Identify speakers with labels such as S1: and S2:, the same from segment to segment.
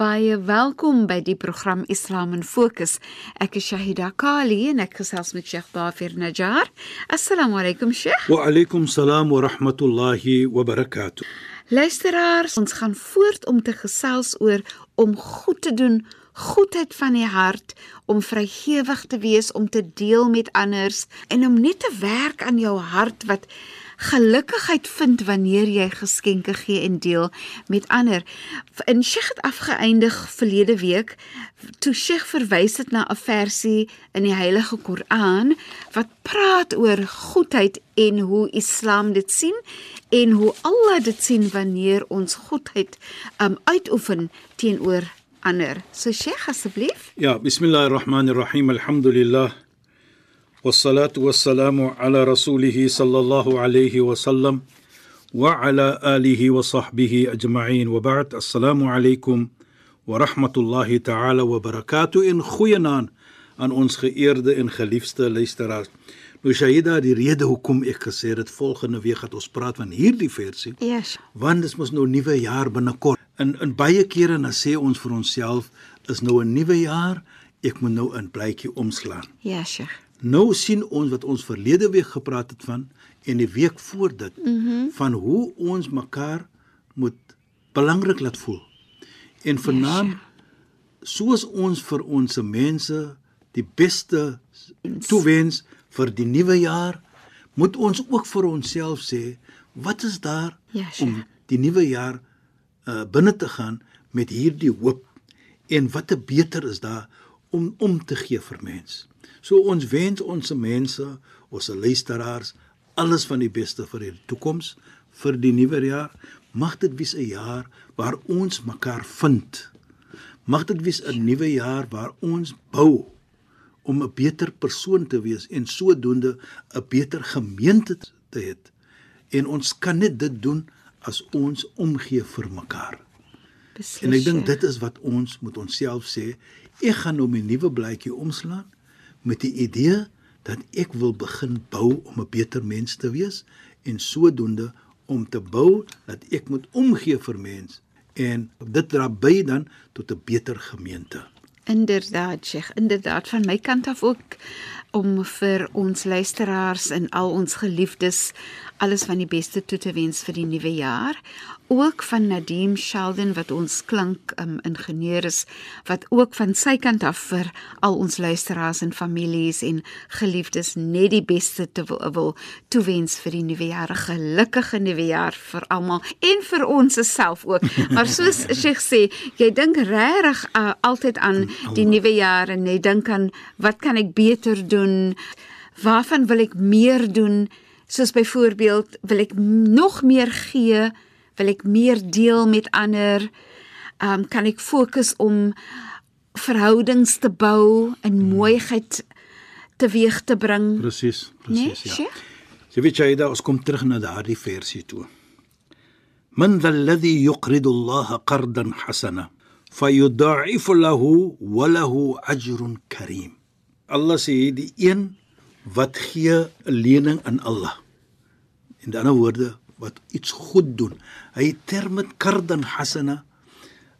S1: Baie welkom by die program Islam in Fokus. Ek is Shahida Kali en ek gesels met Sheikh Dafer Najjar. Assalamu alaykum Sheikh.
S2: وعليكم السلام ورحمة الله وبركاته
S1: Luisteraars, ons gaan voort om te gesels oor om goed te doen, goedheid van die hart, om vrygewig te wees, om te deel met anders en om net te werk aan jou hart wat gelukkigheid vind wanneer jy geskenke gee en deel met ander. In Sheikh het afgeëindig verlede week toe Sheikh verwys het na 'n versie in die Heilige Koran wat praat oor goedheid en hoe Islam dit sien en hoe Allah dit sien wanneer ons goedheid um uitoefen teenoor ander. So Sheikh asseblief.
S2: يا بسم الله الرحمن الرحيم الحمد لله والصلاة والسلام على رسوله صلى الله عليه وسلم وعلى آله وصحبه أجمعين وبعد السلام عليكم ورحمة الله تعالى وبركاته إن goeienaand aan ons geëerde en geliefde luisteraars. Nou Shahida, die rede hoekom ek gesê het volgende week gaan ons praat van hierdie versie
S1: Yes.
S2: want dis mos nou nuwe jaar binnekort. In in baie kere dan sê ons vir onsself is nou 'n nuwe jaar, ek moet nou 'n blykie oomslaan.
S1: Ja, Sheikh.
S2: Nou sien ons wat ons verlede week gepraat het van en die week voor dit mm -hmm. van hoe ons mekaar moet belangrik laat voel. En vanaand yes, soos ons vir ons mense die beste toewens vir die nuwe jaar, moet ons ook vir onsself sê, wat is daar
S1: Ja, Sheikh.
S2: om die nuwe jaar uh, binne te gaan met hierdie hoop en wat te beter is daar om om te gee vir mens. So ons wens ons mense, ons luisteraars alles van die beste vir die toekoms, vir die nuwe jaar. Mag dit wees 'n jaar waar ons mekaar vind. Mag dit wees 'n nuwe jaar waar ons bou om 'n beter persoon te wees en sodoende 'n beter gemeente te hê. En ons kan net dit doen as ons omgee vir mekaar.
S1: Beslis.
S2: En ek dink
S1: Sheikh.
S2: dit is wat ons moet onsself sê, ek gaan nou my nuwe blaadjie omslaan met die idee dat ek wil begin bou om 'n beter mens te wees en sodoende om te bou dat ek moet omgee vir mens en dit dra by dan tot 'n beter gemeente.
S1: Inderdaad, Sheikh, inderdaad van my kant af ook om vir ons luisteraars en al ons geliefdes alles van die beste toe te wens vir die nuwe jaar. Ook van Nadim Sheldon wat ons klank um, ingenieur is wat ook van sy kant af vir al ons luisteraars en families en geliefdes net die beste te wil, wil toewens vir die nuwe jaar. 'n Gelukkige nuwe jaar vir almal en vir ons self ook. Maar soos Sheikh sê, jy dink regtig uh, altyd aan die nuwe jaar en jy dink aan wat kan ek beter doen? Waarvan wil ek meer doen? Soos byvoorbeeld, wil ek m- nog meer gee? Wil ek meer deel met ander? Um kan ek fokus om verhoudings te bou en mooiheid teweeg te bring?
S2: Presies,
S1: Nee,
S2: presies ja.
S1: Sheikh?
S2: Jy weet jy daar ons kom terug na daardie versie toe. Man dhal ladhi yuqridu Allah qardan hasana fayudha'ifu lahu wa lahu ajrun karim. Allah sê hy die een wat gee 'n lening aan Allah. In ander woorde wat iets goed doen. Hy term dit qardan hasana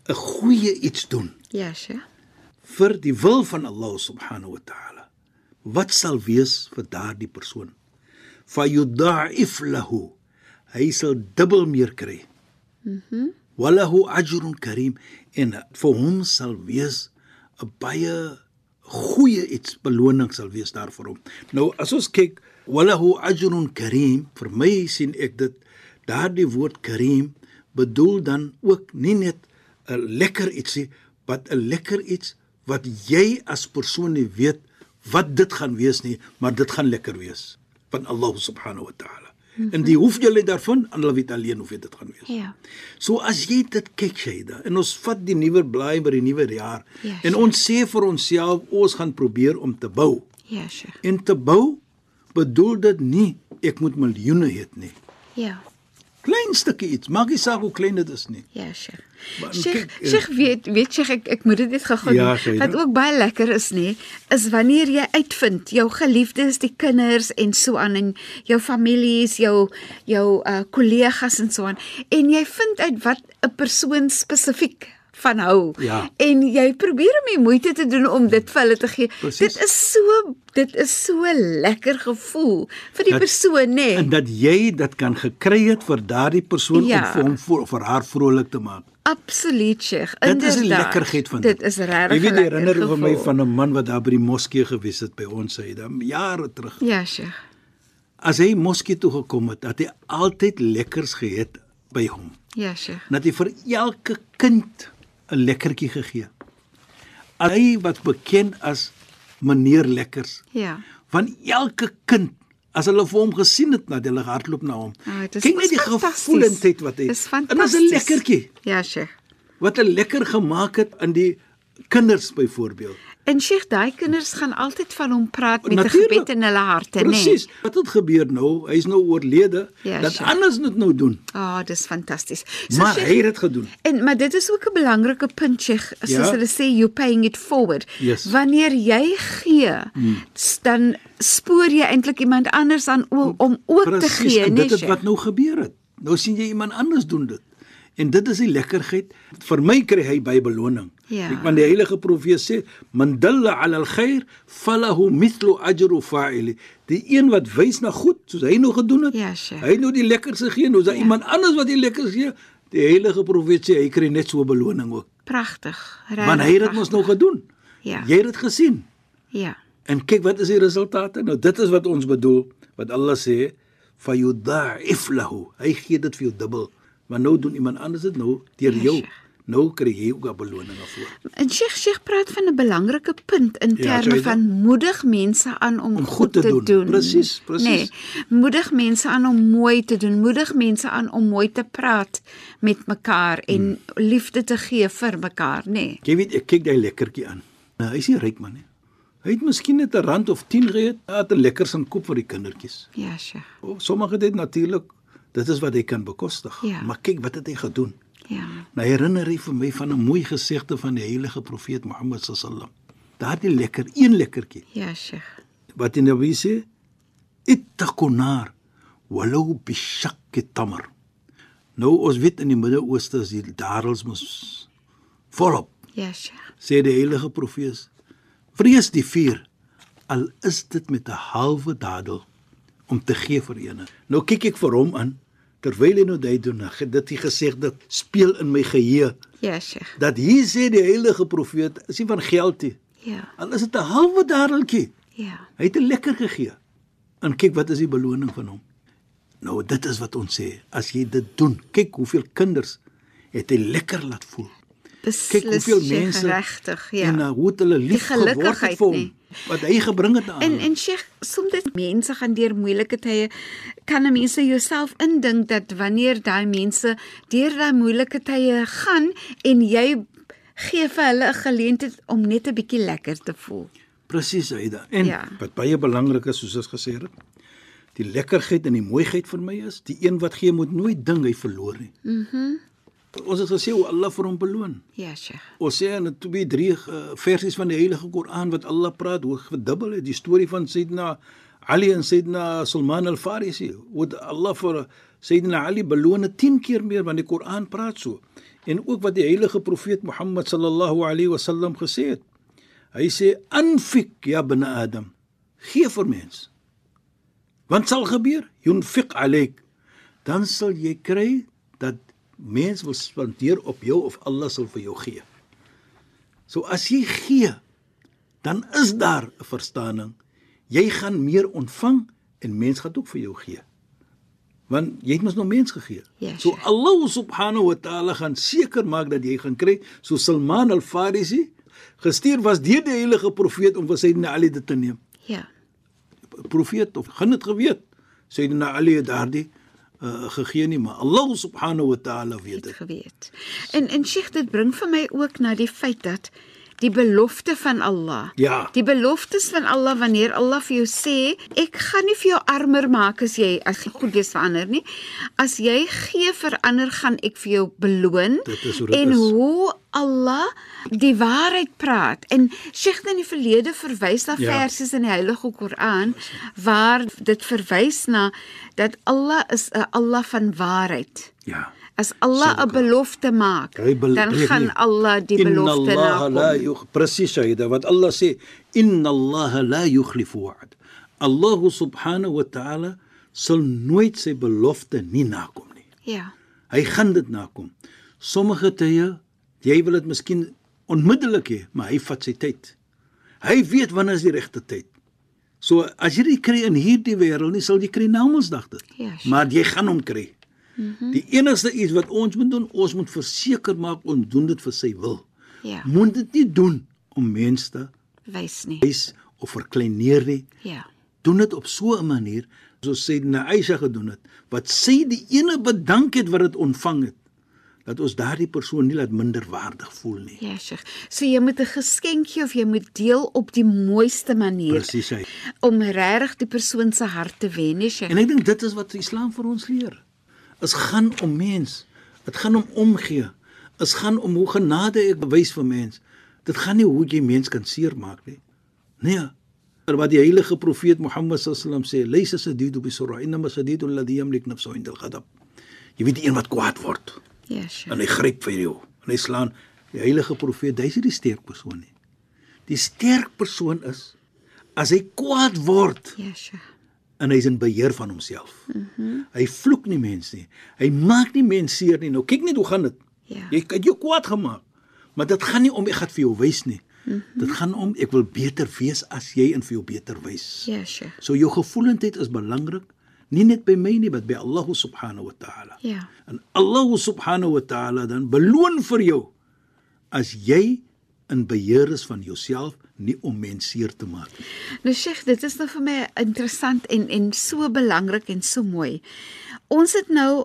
S2: 'n goeie iets doen
S1: Ja, Sheikh.
S2: vir die wil van Allah subhanahu wa ta'ala. Wat sal wees vir daardie persoon? Fayudha'if lahu. Hy sal dubbel meer kry. Mhm. Mm Walahu ajrun karim en vir hom sal wees 'n baie goeie iets beloning sal wees daar vir hom. Nou as ons kyk walahu ajrun karim, vir my sien ek dit daardie woord karim bedoel dan ook nie net 'n lekker ietsie, wat 'n lekker iets wat jy as persoon nie weet wat dit gaan wees nie, maar dit gaan lekker wees van Allah subhanahu wa ta'ala. En die hoef jy daarvan, Allah weet alleen of dit gaan wees.
S1: Ja.
S2: So as jy dit kyk Shaida en ons vat die nuwe blaai by die nuwe jaar
S1: Ja,
S2: en
S1: Sheikh.
S2: ons sê vir onsself ons gaan probeer om te bou.
S1: Ja, Sheikh.
S2: En te bou bedoel dit nie ek moet miljoene hê nie.
S1: Ja.
S2: Klein stukkie iets, maak nie saak hoe klein dit is nie.
S1: Ja, Sheikh.
S2: Maar
S1: Sheikh,
S2: kyk, eh,
S1: Sheikh weet weet Sheikh ek ek moet dit net gou-gou
S2: Ja,
S1: doen.
S2: Shaida.
S1: Wat ook baie lekker is nê, is wanneer jy uitvind jou geliefdes, die kinders en so aan en jou families, jou jou uh kollegas en so aan en jy vind uit wat 'n persoon spesifiek van hou.
S2: Ja.
S1: En jy probeer om die moeite te doen om dit vir hulle te gee.
S2: Precies.
S1: Dit is so dit is so lekker gevoel vir die
S2: Dat-
S1: persoon nê.
S2: En dat jy dit kan gekry het vir daardie persoon ja.
S1: Ja.
S2: om vir hom vir, vir haar vrolik te maak.
S1: Absoluut, Sheikh.
S2: Dit is die
S1: Inderdaad.
S2: lekkerheid van
S1: dit. Dit is regtig.
S2: Jy weet
S1: een
S2: jy
S1: lekker
S2: herinner oor my
S1: gevoel.
S2: van 'n man wat daar by die moskee gewees het by ons hy dan jare terug.
S1: Ja, Sheikh.
S2: As hy moskee toe gekom het, het hy altyd lekkers geëet by hom.
S1: Ja, Sheikh.
S2: dat hy vir elke kind 'n lekkertjie gegee. As Hy wat bekend as meneer Lekkers.
S1: Ja.
S2: Van elke kind as hulle vir hom gesien het, nadat hulle hardloop na hom.
S1: Ah, dit is
S2: Kyk net die
S1: fantasties.
S2: gevoelendheid wat hy.
S1: Dis
S2: en dit is 'n
S1: fantasties.
S2: lekkertjie
S1: Ja, Sheikh.
S2: wat hy lekker gemaak het aan die kinders byvoorbeeld.
S1: En Sheikh, daai kinders gaan altyd van hom praat met 'n
S2: Natuurlijk.
S1: gebed in hulle harte, nê?
S2: Presies. Wat het gebeur nou? Hy's nou oorlede.
S1: Ja,
S2: dat
S1: sure.
S2: anders moet nou doen.
S1: Ah, oh, dis fantasties.
S2: maar
S1: Sheikh,
S2: hy het dit gedoen.
S1: En maar dit is ook 'n belangrike punt, Sheikh, soos
S2: Ja.
S1: hulle sê you paying it forward.
S2: Yes. Hmm.
S1: Wanneer jy gee, s- dan spoor jy eintlik iemand anders aan o- om ook
S2: Presies,
S1: te gee, nee,
S2: en
S1: nê?
S2: dit is
S1: Sheikh?
S2: wat nou gebeur het. Nou sien jy iemand anders doen dit. En dit is die lekkerheid. Vir my kry hy by beloning.
S1: Ja.
S2: Ek want die heilige profeet sê, "Man dalla 'ala al-khair falahu mithlu ajru fa'ili." Die een wat wys na goed, soos hy nou gedoen het.
S1: Ja, Sheikh.
S2: hy het nou die lekkerste gee, nou is daar iemand anders wat die lekkerste gee. Die heilige profeet sê hy kry net so 'n beloning ook.
S1: Pragtig. Regtig.
S2: Want hy het dit
S1: pragtig.
S2: mos nou gedoen.
S1: Ja.
S2: Jy het dit gesien.
S1: Ja.
S2: En kyk wat is die resultate? Nou dit is wat ons bedoel wat Allah sê fayudha'if lahu. Hy gee dit vir jou dubbel. Maar nou doen iemand anders dit nou deur
S1: Ja,
S2: jou.
S1: Sheikh.
S2: Nou kry jy ook 'n beloning daarvoor.
S1: En Sheikh Sheikh praat van 'n belangrike punt in
S2: Ja,
S1: terme
S2: Saida.
S1: van moedig mense aan om,
S2: Om goed te doen. Precies, precies.
S1: Nee, moedig mense aan om mooi te doen, moedig mense aan om mooi te praat met mekaar en hmm. liefde te gee vir mekaar, nê. Nee.
S2: Jy weet ek kyk daai lekkertjie aan. Nou hy's nie ryk man nie. Hy het miskien net 'n rand of 10 gehad, hy het 'n lekkers en koop vir die kindertjies.
S1: Ja, Sheikh.
S2: O, sommige dit natuurlik, dit is wat hy kan bekostig.
S1: Ja.
S2: Maar kyk wat het hy gedoen?
S1: Ja.
S2: Nou herinner hy vir my van 'n mooi gesegde van die heilige profeet Mohammed sallam. Daardie lekker, een lekkertjie
S1: Ja, Sheikh.
S2: wat die Nabi sê ittaqun nar walau bishakk tamr nou ons weet in die Midde-Ooste is die dadels mos volop
S1: Ja, Sheikh.
S2: sê die heilige profeet vrees die vuur al is dit met 'n halwe dadel om te gee vir eene nou kyk ek vir hom aan terwyl hy nou dit doen nou, dit hy gesê dit speel in my geheue
S1: Ja, Sheikh.
S2: dat hier sê die heilige profeet is nie van geld nie
S1: Ja.
S2: al is dit 'n halwe dadeltjie
S1: Ja.
S2: Hy het 'n lekker gegee. En kyk wat is die beloning van hom. Nou dit is wat ons sê, as jy dit doen, kyk hoeveel kinders het hy lekker laat voel.
S1: Beslis.
S2: Kyk hoeveel
S1: Sheikh,
S2: mense
S1: regtig, ja.
S2: En uh, hoe het hulle lief geword het
S1: gelukkigheid
S2: vir hom
S1: nie.
S2: wat hy gebring het aan.
S1: En
S2: hulle.
S1: en Sheikh, soms mense gaan deur moeilike tye kan 'n mens se jouself indink dat wanneer daai mense deur daai moeilike tye gaan en jy gee vir hulle 'n geleentheid om net 'n bietjie lekker te voel.
S2: presies Aida. En ja.
S1: Ja.
S2: wat baie belangrik is soos ons gesê het, die lekkerheid en die mooiheid vir my is, die een wat gee moet nooit ding hy verloor nie. Mhm. Ons het gesê hoe Allah vir hom beloon.
S1: Ja, Sheikh.
S2: Ons sê in 2 3 eh, versies van die Heilige Koran wat Allah praat hoe gedubbel het die storie van Sayyidina Ali en Sayyidina Salman al-Farisi. Wat Allah vir Sayyidina Ali beloon het 10 keer meer want die Koran praat so. En ook wat die heilige profeet Mohammed sallallahu alaihi wasallam gesê het. Hy sê anfik ya bani Adam. Gee vir mens. Want sal gebeur, yunfiq alayk. Dan sal jy kry dat mens wil spandeer op jou of Allah sal vir jou gee. So as jy gee, dan is daar 'n verstaaning. Jy gaan meer ontvang en mens gaan ook vir jou gee. want jy het mos nog mens gegee.
S1: Ja,
S2: so
S1: Sheikh.
S2: Allah subhanahu wa ta'ala gaan seker maak dat jy gaan kry so Salman al-Farisi gestuur was deur die heilige profeet om vir Sayyidina Ali dit te neem.
S1: Ja.
S2: Profeet of gaan dit geweet. Sayyidina Ali het daardie uh, gegee nie, maar Allah subhanahu wa ta'ala weet
S1: het
S2: dit.
S1: geweet. En en Sheikh, dit bring vir my ook na die feit dat die belofte van Allah.
S2: Ja.
S1: Die beloftes van Allah wanneer Allah vir jou sê, ek gaan nie vir jou armer maak as jy as jy goed is vir ander nie. As jy gee vir ander, gaan ek vir jou beloon.
S2: Dit is hoe dit
S1: en
S2: is.
S1: hoe Allah die waarheid praat. En Sheikh het in die verlede verwys na
S2: Ja.
S1: ja. versies in die Heilige Koran waar dit verwys na dat Allah is 'n Allah van waarheid.
S2: Ja.
S1: As Allah 'n
S2: Sadaqa.
S1: belofte maak,
S2: Hy bel-
S1: dan
S2: breek
S1: gaan
S2: nie.
S1: Allah die belofte
S2: Inna Allah la
S1: nakom.
S2: yukh presies Shaida wat Allah sê inna Allah la yukhlifu wa'd. Allah subhanahu wa ta'ala sal nooit sy belofte nie nakom nie.
S1: Ja,
S2: Hy gaan dit nakom. Sommige tye jy wil dit miskien onmiddellik hê, maar hy vat sy tyd. Hy weet wanneer is die regte tyd. So as jy dit kry in hierdie wêreld nie, sal jy kry na Mondsdag dit.
S1: Ja, sure. Mhm.
S2: maar jy gaan hom kry. Mm -hmm. Die enigste iets wat ons moet doen, ons moet verseker maak ons doen dit vir sy wil.
S1: ja,
S2: Moet dit nie doen om mense te
S1: wys nie.
S2: wys of verkleineer nie.
S1: Ja,
S2: Doen dit op so 'n manier soos Sayyidina Aisha gedoen het, wat sy die ene bedank het wat dit ontvang het, dat ons daardie persoon nie laat minder waardig voel nie.
S1: ja, Sheikh. So jy moet 'n geskenkie of jy moet deel op die mooiste manier
S2: Presies hy.
S1: om regtig die persoon se hart te wen, nie Sheikh?
S2: En ek dink dit is wat die Islam vir ons leer. Dit gaan om mens. Dit gaan om omgee. Dit gaan om hoe genade ek bewys vir mens. Dit gaan nie hoe jy mens kan seermaak nie. Nee. Maar wat die heilige profeet Mohammed sallam sê, "Laysa sadidu bi sur'a, inma sadidu alladhi yamlik nafsahu 'inda al-ghadab." Jy weet die een wat kwaad word.
S1: Ja, Sheikh.
S2: en hy gryp vir jou en hy slaan die heilige profeet hy's nie die sterk persoon nie die sterk persoon is as hy kwaad word
S1: Ja, Sheikh.
S2: en hy's in beheer van homself mm
S1: Mhm.
S2: -hmm. hy vloek nie mense nie hy maak nie mense seer nie nou kyk net hoe gaan dit
S1: Ja.
S2: jy het jou kwaad gemaak maar dit gaan nie om ek gaan vir jou wys nie
S1: Mhm.
S2: mm -hmm. dit gaan om ek wil beter wees as jy en vir jou beter wys
S1: Ja, Sheikh.
S2: so jou gevoelendheid is belangrik nie net by my nie maar by Allah subhanahu wa ta'ala
S1: Ja.
S2: En Allah subhanahu wa ta'ala dan beloon vir jou as jy in beheer is van jouself, nie om mense seer te maak nie.
S1: Nou Sheikh, dit is nou vir my interessant en en so belangrik en so mooi. Ons het nou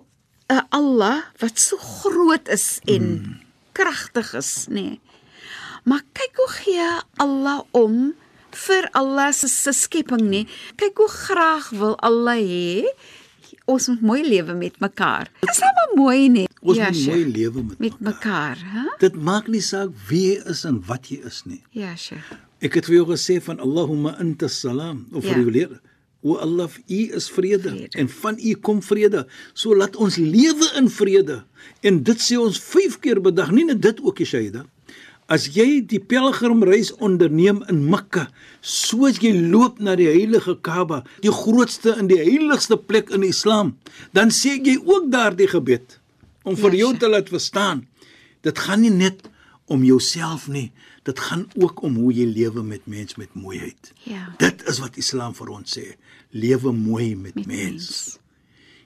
S1: 'n Allah wat so groot is en
S2: Hmm.
S1: mm. kragtig is, nê. Nee. Maar kyk hoe gee Allah om vir Allah se se skepping, nê. Kyk hoe graag wil Allah hê ons moet mooi lewe met mekaar. Dis nou maar mooi, nê.
S2: Ons ja, moet
S1: Sheikh,
S2: mooi lewe met,
S1: met mekaar, hè?
S2: Dit maak nie saak wie jy is en wat jy is nie.
S1: Ja, Sheikh.
S2: Ek het vir jou gesê van Allahumma anta salam of
S1: Ja.
S2: ja. reguleer. O Allah, U is vrede,
S1: Vrede.
S2: vrede en van U kom vrede. So laat ons lewe in vrede. En dit sê ons 5 keer per dag, nie net dit ook, Shaida. As jy die pelgrimreis onderneem in Mekka, soos jy loop na die heilige Kaaba, die grootste en die heiligste plek in Islam, dan sê jy ook daardie gebed om
S1: Ja,
S2: vir jou
S1: Sheikh.
S2: te laat verstaan. Dit gaan nie net om jouself nie, dit gaan ook om hoe jy lewe met mens met mooiheid.
S1: Ja.
S2: Dit is wat Islam vir ons sê, lewe mooi met, met mens. mens.
S1: mens.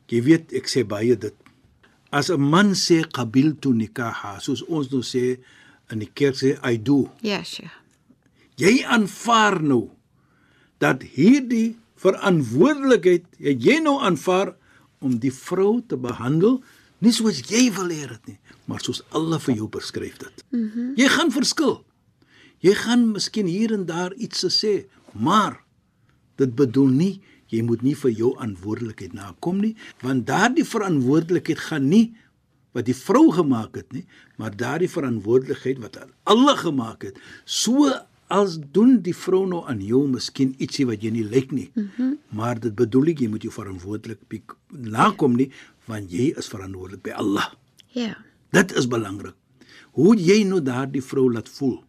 S2: Jy weet, ek sê baie dit. As 'n man sê qabiltu nikaha, soos ons nou sê in die kerk sê I do.
S1: Ja, Sheikh.
S2: Jy aanvaar nou dat hierdie verantwoordelikheid het jy nou aanvaar om die vrou te behandel nie soos jy wil hê dit nie, maar soos Allah vir jou beskryf dit. Mm -hmm. Jy gaan verskil. Jy gaan miskien hier en daar iets te sê, maar Dit bedoel nie jy moet nie vir jou verantwoordelikheid nakom nie, want daardie verantwoordelikheid gaan nie wat die vrou gemaak het nie, maar daardie verantwoordelikheid wat aan Allah gemaak het. So as doen die vrou nou aan jou miskien ietsie wat jy nie lyk nie. Mm -hmm. Maar dit bedoel ek jy moet jou verantwoordelik pik- nakom nie, want jy is verantwoordelik by Allah.
S1: Ja.
S2: Dit is belangrik. Hoe jy nou daardie vrou laat voel.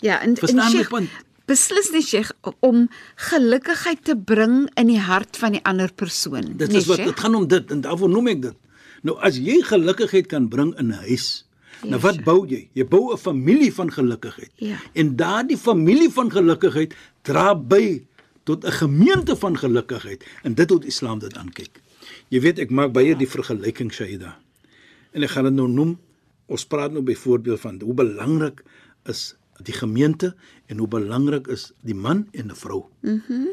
S1: Ja, en
S2: Verstaan
S1: en
S2: my
S1: Sheikh,
S2: punt?
S1: Beslis nie Sheikh om gelukkigheid te bring in die hart van die ander persoon.
S2: Dit
S1: nee,
S2: is wat
S1: Sheikh?
S2: dit gaan om dit en daarvoor noem ek dit. Nou as jy gelukkigheid kan bring in 'n huis, nou
S1: Ja,
S2: wat
S1: sure.
S2: bou jy? Jy bou 'n familie van gelukkigheid.
S1: Ja.
S2: En daardie familie van gelukkigheid dra by tot 'n gemeente van gelukkigheid en dit hoe Islam dit aankyk. Jy weet ek maak
S1: Ja.
S2: baie die vergelyking Shaida. En ek gaan dit nou noem. Ons praat nou byvoorbeeld van hoe belangrik is die gemeente en hoe belangrik is die man en die vrou. Mhm. Mm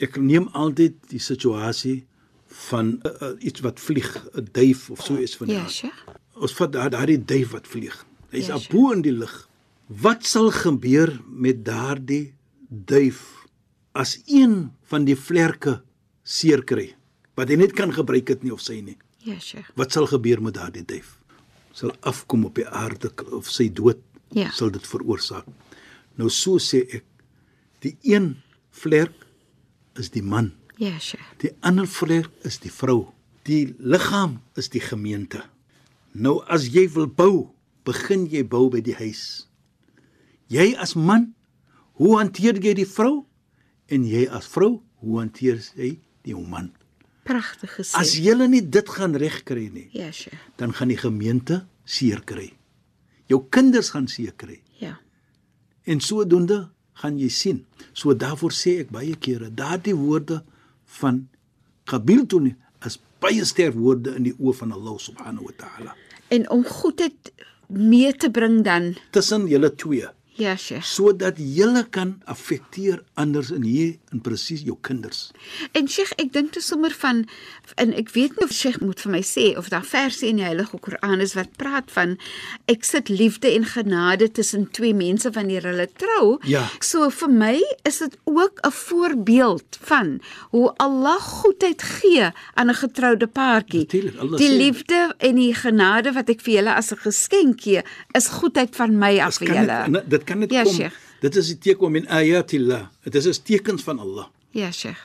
S2: ek neem altyd die situasie van uh, uh, iets wat vlieg, 'n duif of so iets van die
S1: Ja,
S2: aard.
S1: Sheikh.
S2: Ons vat daar daardie duif wat vlieg. Hy's
S1: Ja,
S2: ja,
S1: sure.
S2: bo in die lug. Wat sal gebeur met daardie duif as een van die vlerke seer kry? Wat hy net kan gebruik het nie of sy nie.
S1: Ja, Sheikh.
S2: Wat sal gebeur met daardie duif? Sal afkom op die aarde of sy dood
S1: Ja.
S2: sal dit veroorsaak. Nou so sê ek, die een vlerk is die man.
S1: Ja, Sheikh.
S2: Die ander vlek is die vrou. Die liggaam is die gemeente. Nou as jy wil bou, begin jy bou by die huis. Jy as man, hoe hanteer jy die vrou? En jy as vrou, hoe hanteer jy die man?
S1: Pragtig gesê.
S2: As jy nie dit gaan regkry nie,
S1: Ja, Sheikh.
S2: dan gaan die gemeente seer kry. Jou kinders gaan seer kry.
S1: Ja.
S2: En sodoende gaan jy sien. So daarvoor sê ek baie kere, daardie woorde van qabiltun is baie sterk woorde in die oë van Allah subhanahu wa ta'ala.
S1: En om goedheid mee te bring dan.
S2: Tussen julle twee
S1: Ja, Sheikh.
S2: sodat julle kan affekteer anders in hier in presies jou kinders.
S1: En Sheikh, ek dink toe sommer van en ek weet nie of Sheikh moet vir my sê of daar verse in die Heilige Koran is wat praat van ek sit liefde en genade tussen twee mense wanneer hulle trou.
S2: Ja.
S1: So vir my is dit ook 'n voorbeeld van hoe Allah goedheid gee aan 'n getroude paartjie.
S2: Natuurlijk, Allah
S1: die
S2: sê-
S1: liefde en die genade wat ek vir julle as 'n geskenk gee, is goedheid van my af
S2: Dit
S1: vir
S2: kan net-
S1: julle.
S2: en dit kan net
S1: Ja,
S2: kom.
S1: Sheikh.
S2: Dit is die teken min ayatillah. Dit is is tekens van Allah.
S1: Ja, Sheikh.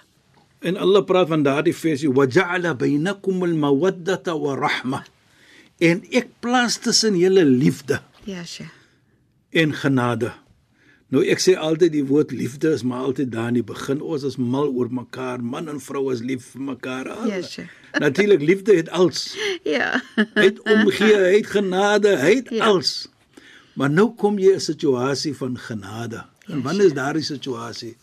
S2: En Allah praat van daardie versie wa ja'ala bainakum al-mawaddata wa rahma. En ek plaas tussen julle liefde
S1: Ja, Sheikh.
S2: en genade. Nou ek sê altyd die woord liefde is maar altyd daar in die begin. Ons is mal oor mekaar. Man en vrou is lief vir mekaar.
S1: Yes, sir.
S2: Natuurlik liefde het als.
S1: Ja.
S2: Hy het omgee, hy het genade, hy het
S1: Ja.
S2: ja. als. Maar nou kom jy 'n situasie van genade.
S1: Ja,
S2: En wanneer is daardie situasie?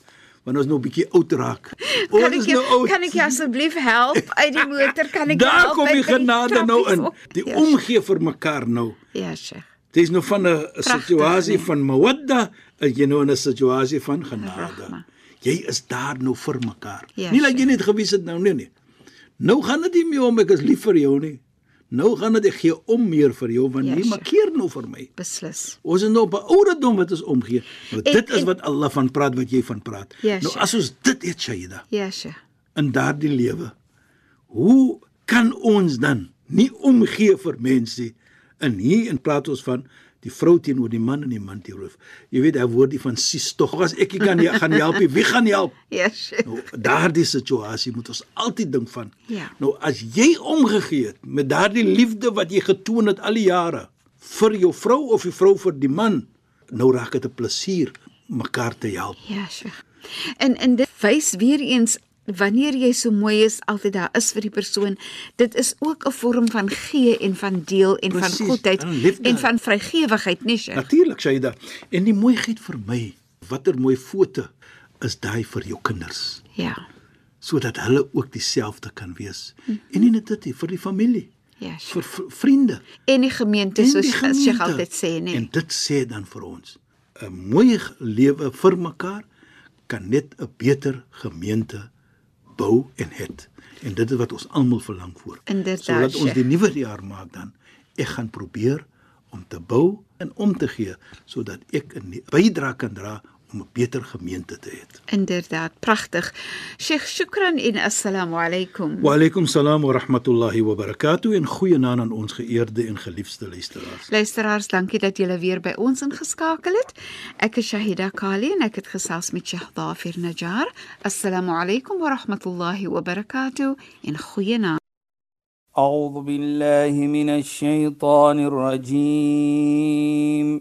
S2: Wanneer ons nou 'n bietjie oud raak.
S1: Kan
S2: Ons
S1: ek
S2: is
S1: jou,
S2: nou oud.
S1: kan ek jou asseblief help uit die motor? Kan ek jou
S2: Daar
S1: help
S2: kom
S1: uit
S2: die
S1: by
S2: genade nou
S1: trappies
S2: in.
S1: op?
S2: Die
S1: Ja,
S2: omgee vir mekaar nou.
S1: Ja, Sheikh.
S2: Dis nou van 'n
S1: Pragtig,
S2: situasie
S1: nee.
S2: van mawadda, as jy nou in 'n situasie van genade.
S1: Rahma.
S2: Jy is daar nou vir mekaar.
S1: Ja,
S2: nie dat jy
S1: sure.
S2: net gewys het nou nee nee. Nou gaan dit nie meer om ek is lief vir jou nie. Nou gaan dit ek gee om meer vir jou want
S1: Ja,
S2: jy
S1: sure.
S2: maak keer nou vir my.
S1: Beslis.
S2: Ons is nou op 'n ouderdom wat ons omgee. Nou
S1: En-
S2: dit is
S1: en-
S2: wat Allah van praat wat jy van praat.
S1: Ja,
S2: nou
S1: sure.
S2: as ons dit het Shaida
S1: Ja, Sheikh.
S2: in daardie lewe. Hoe kan ons dan nie omgee vir mense in hier in praat ons van die vrou teenoor die man en die man teenoor. Jy weet daai woordie van sies tog as ek nie kan jy gaan nie help nie, wie gaan help?
S1: Ja, Sheikh.
S2: Nou daardie situasie moet ons altyd dink van.
S1: Ja.
S2: Nou as jy omgegee het met daardie liefde wat jy getoon het al die jare vir jou vrou of die vrou vir die man, nou raak dit 'n plesier mekaar te help.
S1: Ja, Sheikh. En en dit wys weer eens wanneer jy so mooi is, altyd daar is vir die persoon. Dit is ook 'n vorm van gee en van deel en van
S2: Presies,
S1: goedheid
S2: en liefde.
S1: en van vrygewigheid, nee Sheikh.
S2: Natuurlik, Shaida. En die mooiheid vir my, watter mooi foto is daai vir jou kinders,
S1: Ja.
S2: sodat hulle ook dieselfde kan wees.
S1: Mhm.
S2: En nie net dit nie, vir die familie,
S1: Ja, Sheikh.
S2: vir vir vriende,
S1: En die gemeente
S2: en
S1: soos
S2: die
S1: Sheikh
S2: gemeente.
S1: altyd sê,
S2: En
S1: nee.
S2: dit sê dan vir ons, 'n mooi ge- lewe vir mekaar kan net 'n beter gemeente bou en het. En dit is wat ons almal verlang voor.
S1: Inderdaad,
S2: Sodat ons
S1: Sheikh.
S2: die nuwe jaar maak dan. Ek gaan probeer om te bou en om te gee sodat ek 'n bydra kan dra om 'n beter gemeente te hê.
S1: Inderdaad, pragtig. Sheikh, shukran en assalamu alaykum.
S2: Wa alaykum salaam wa rahmatullahi wa barakatuh en goeienaand aan ons geëerde en geliefde luisteraars.
S1: Luisteraars, dankie dat julle weer by ons ingeskakel het. Ek is Shahida Kali en ek het gesels met Sheikh Dafir Najjar. Assalamu alaykum wa rahmatullahi wa barakatuh en goeienaand.
S3: أعوذ بالله من الشيطان الرجيم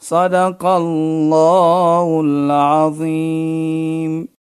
S3: صدق الله العظيم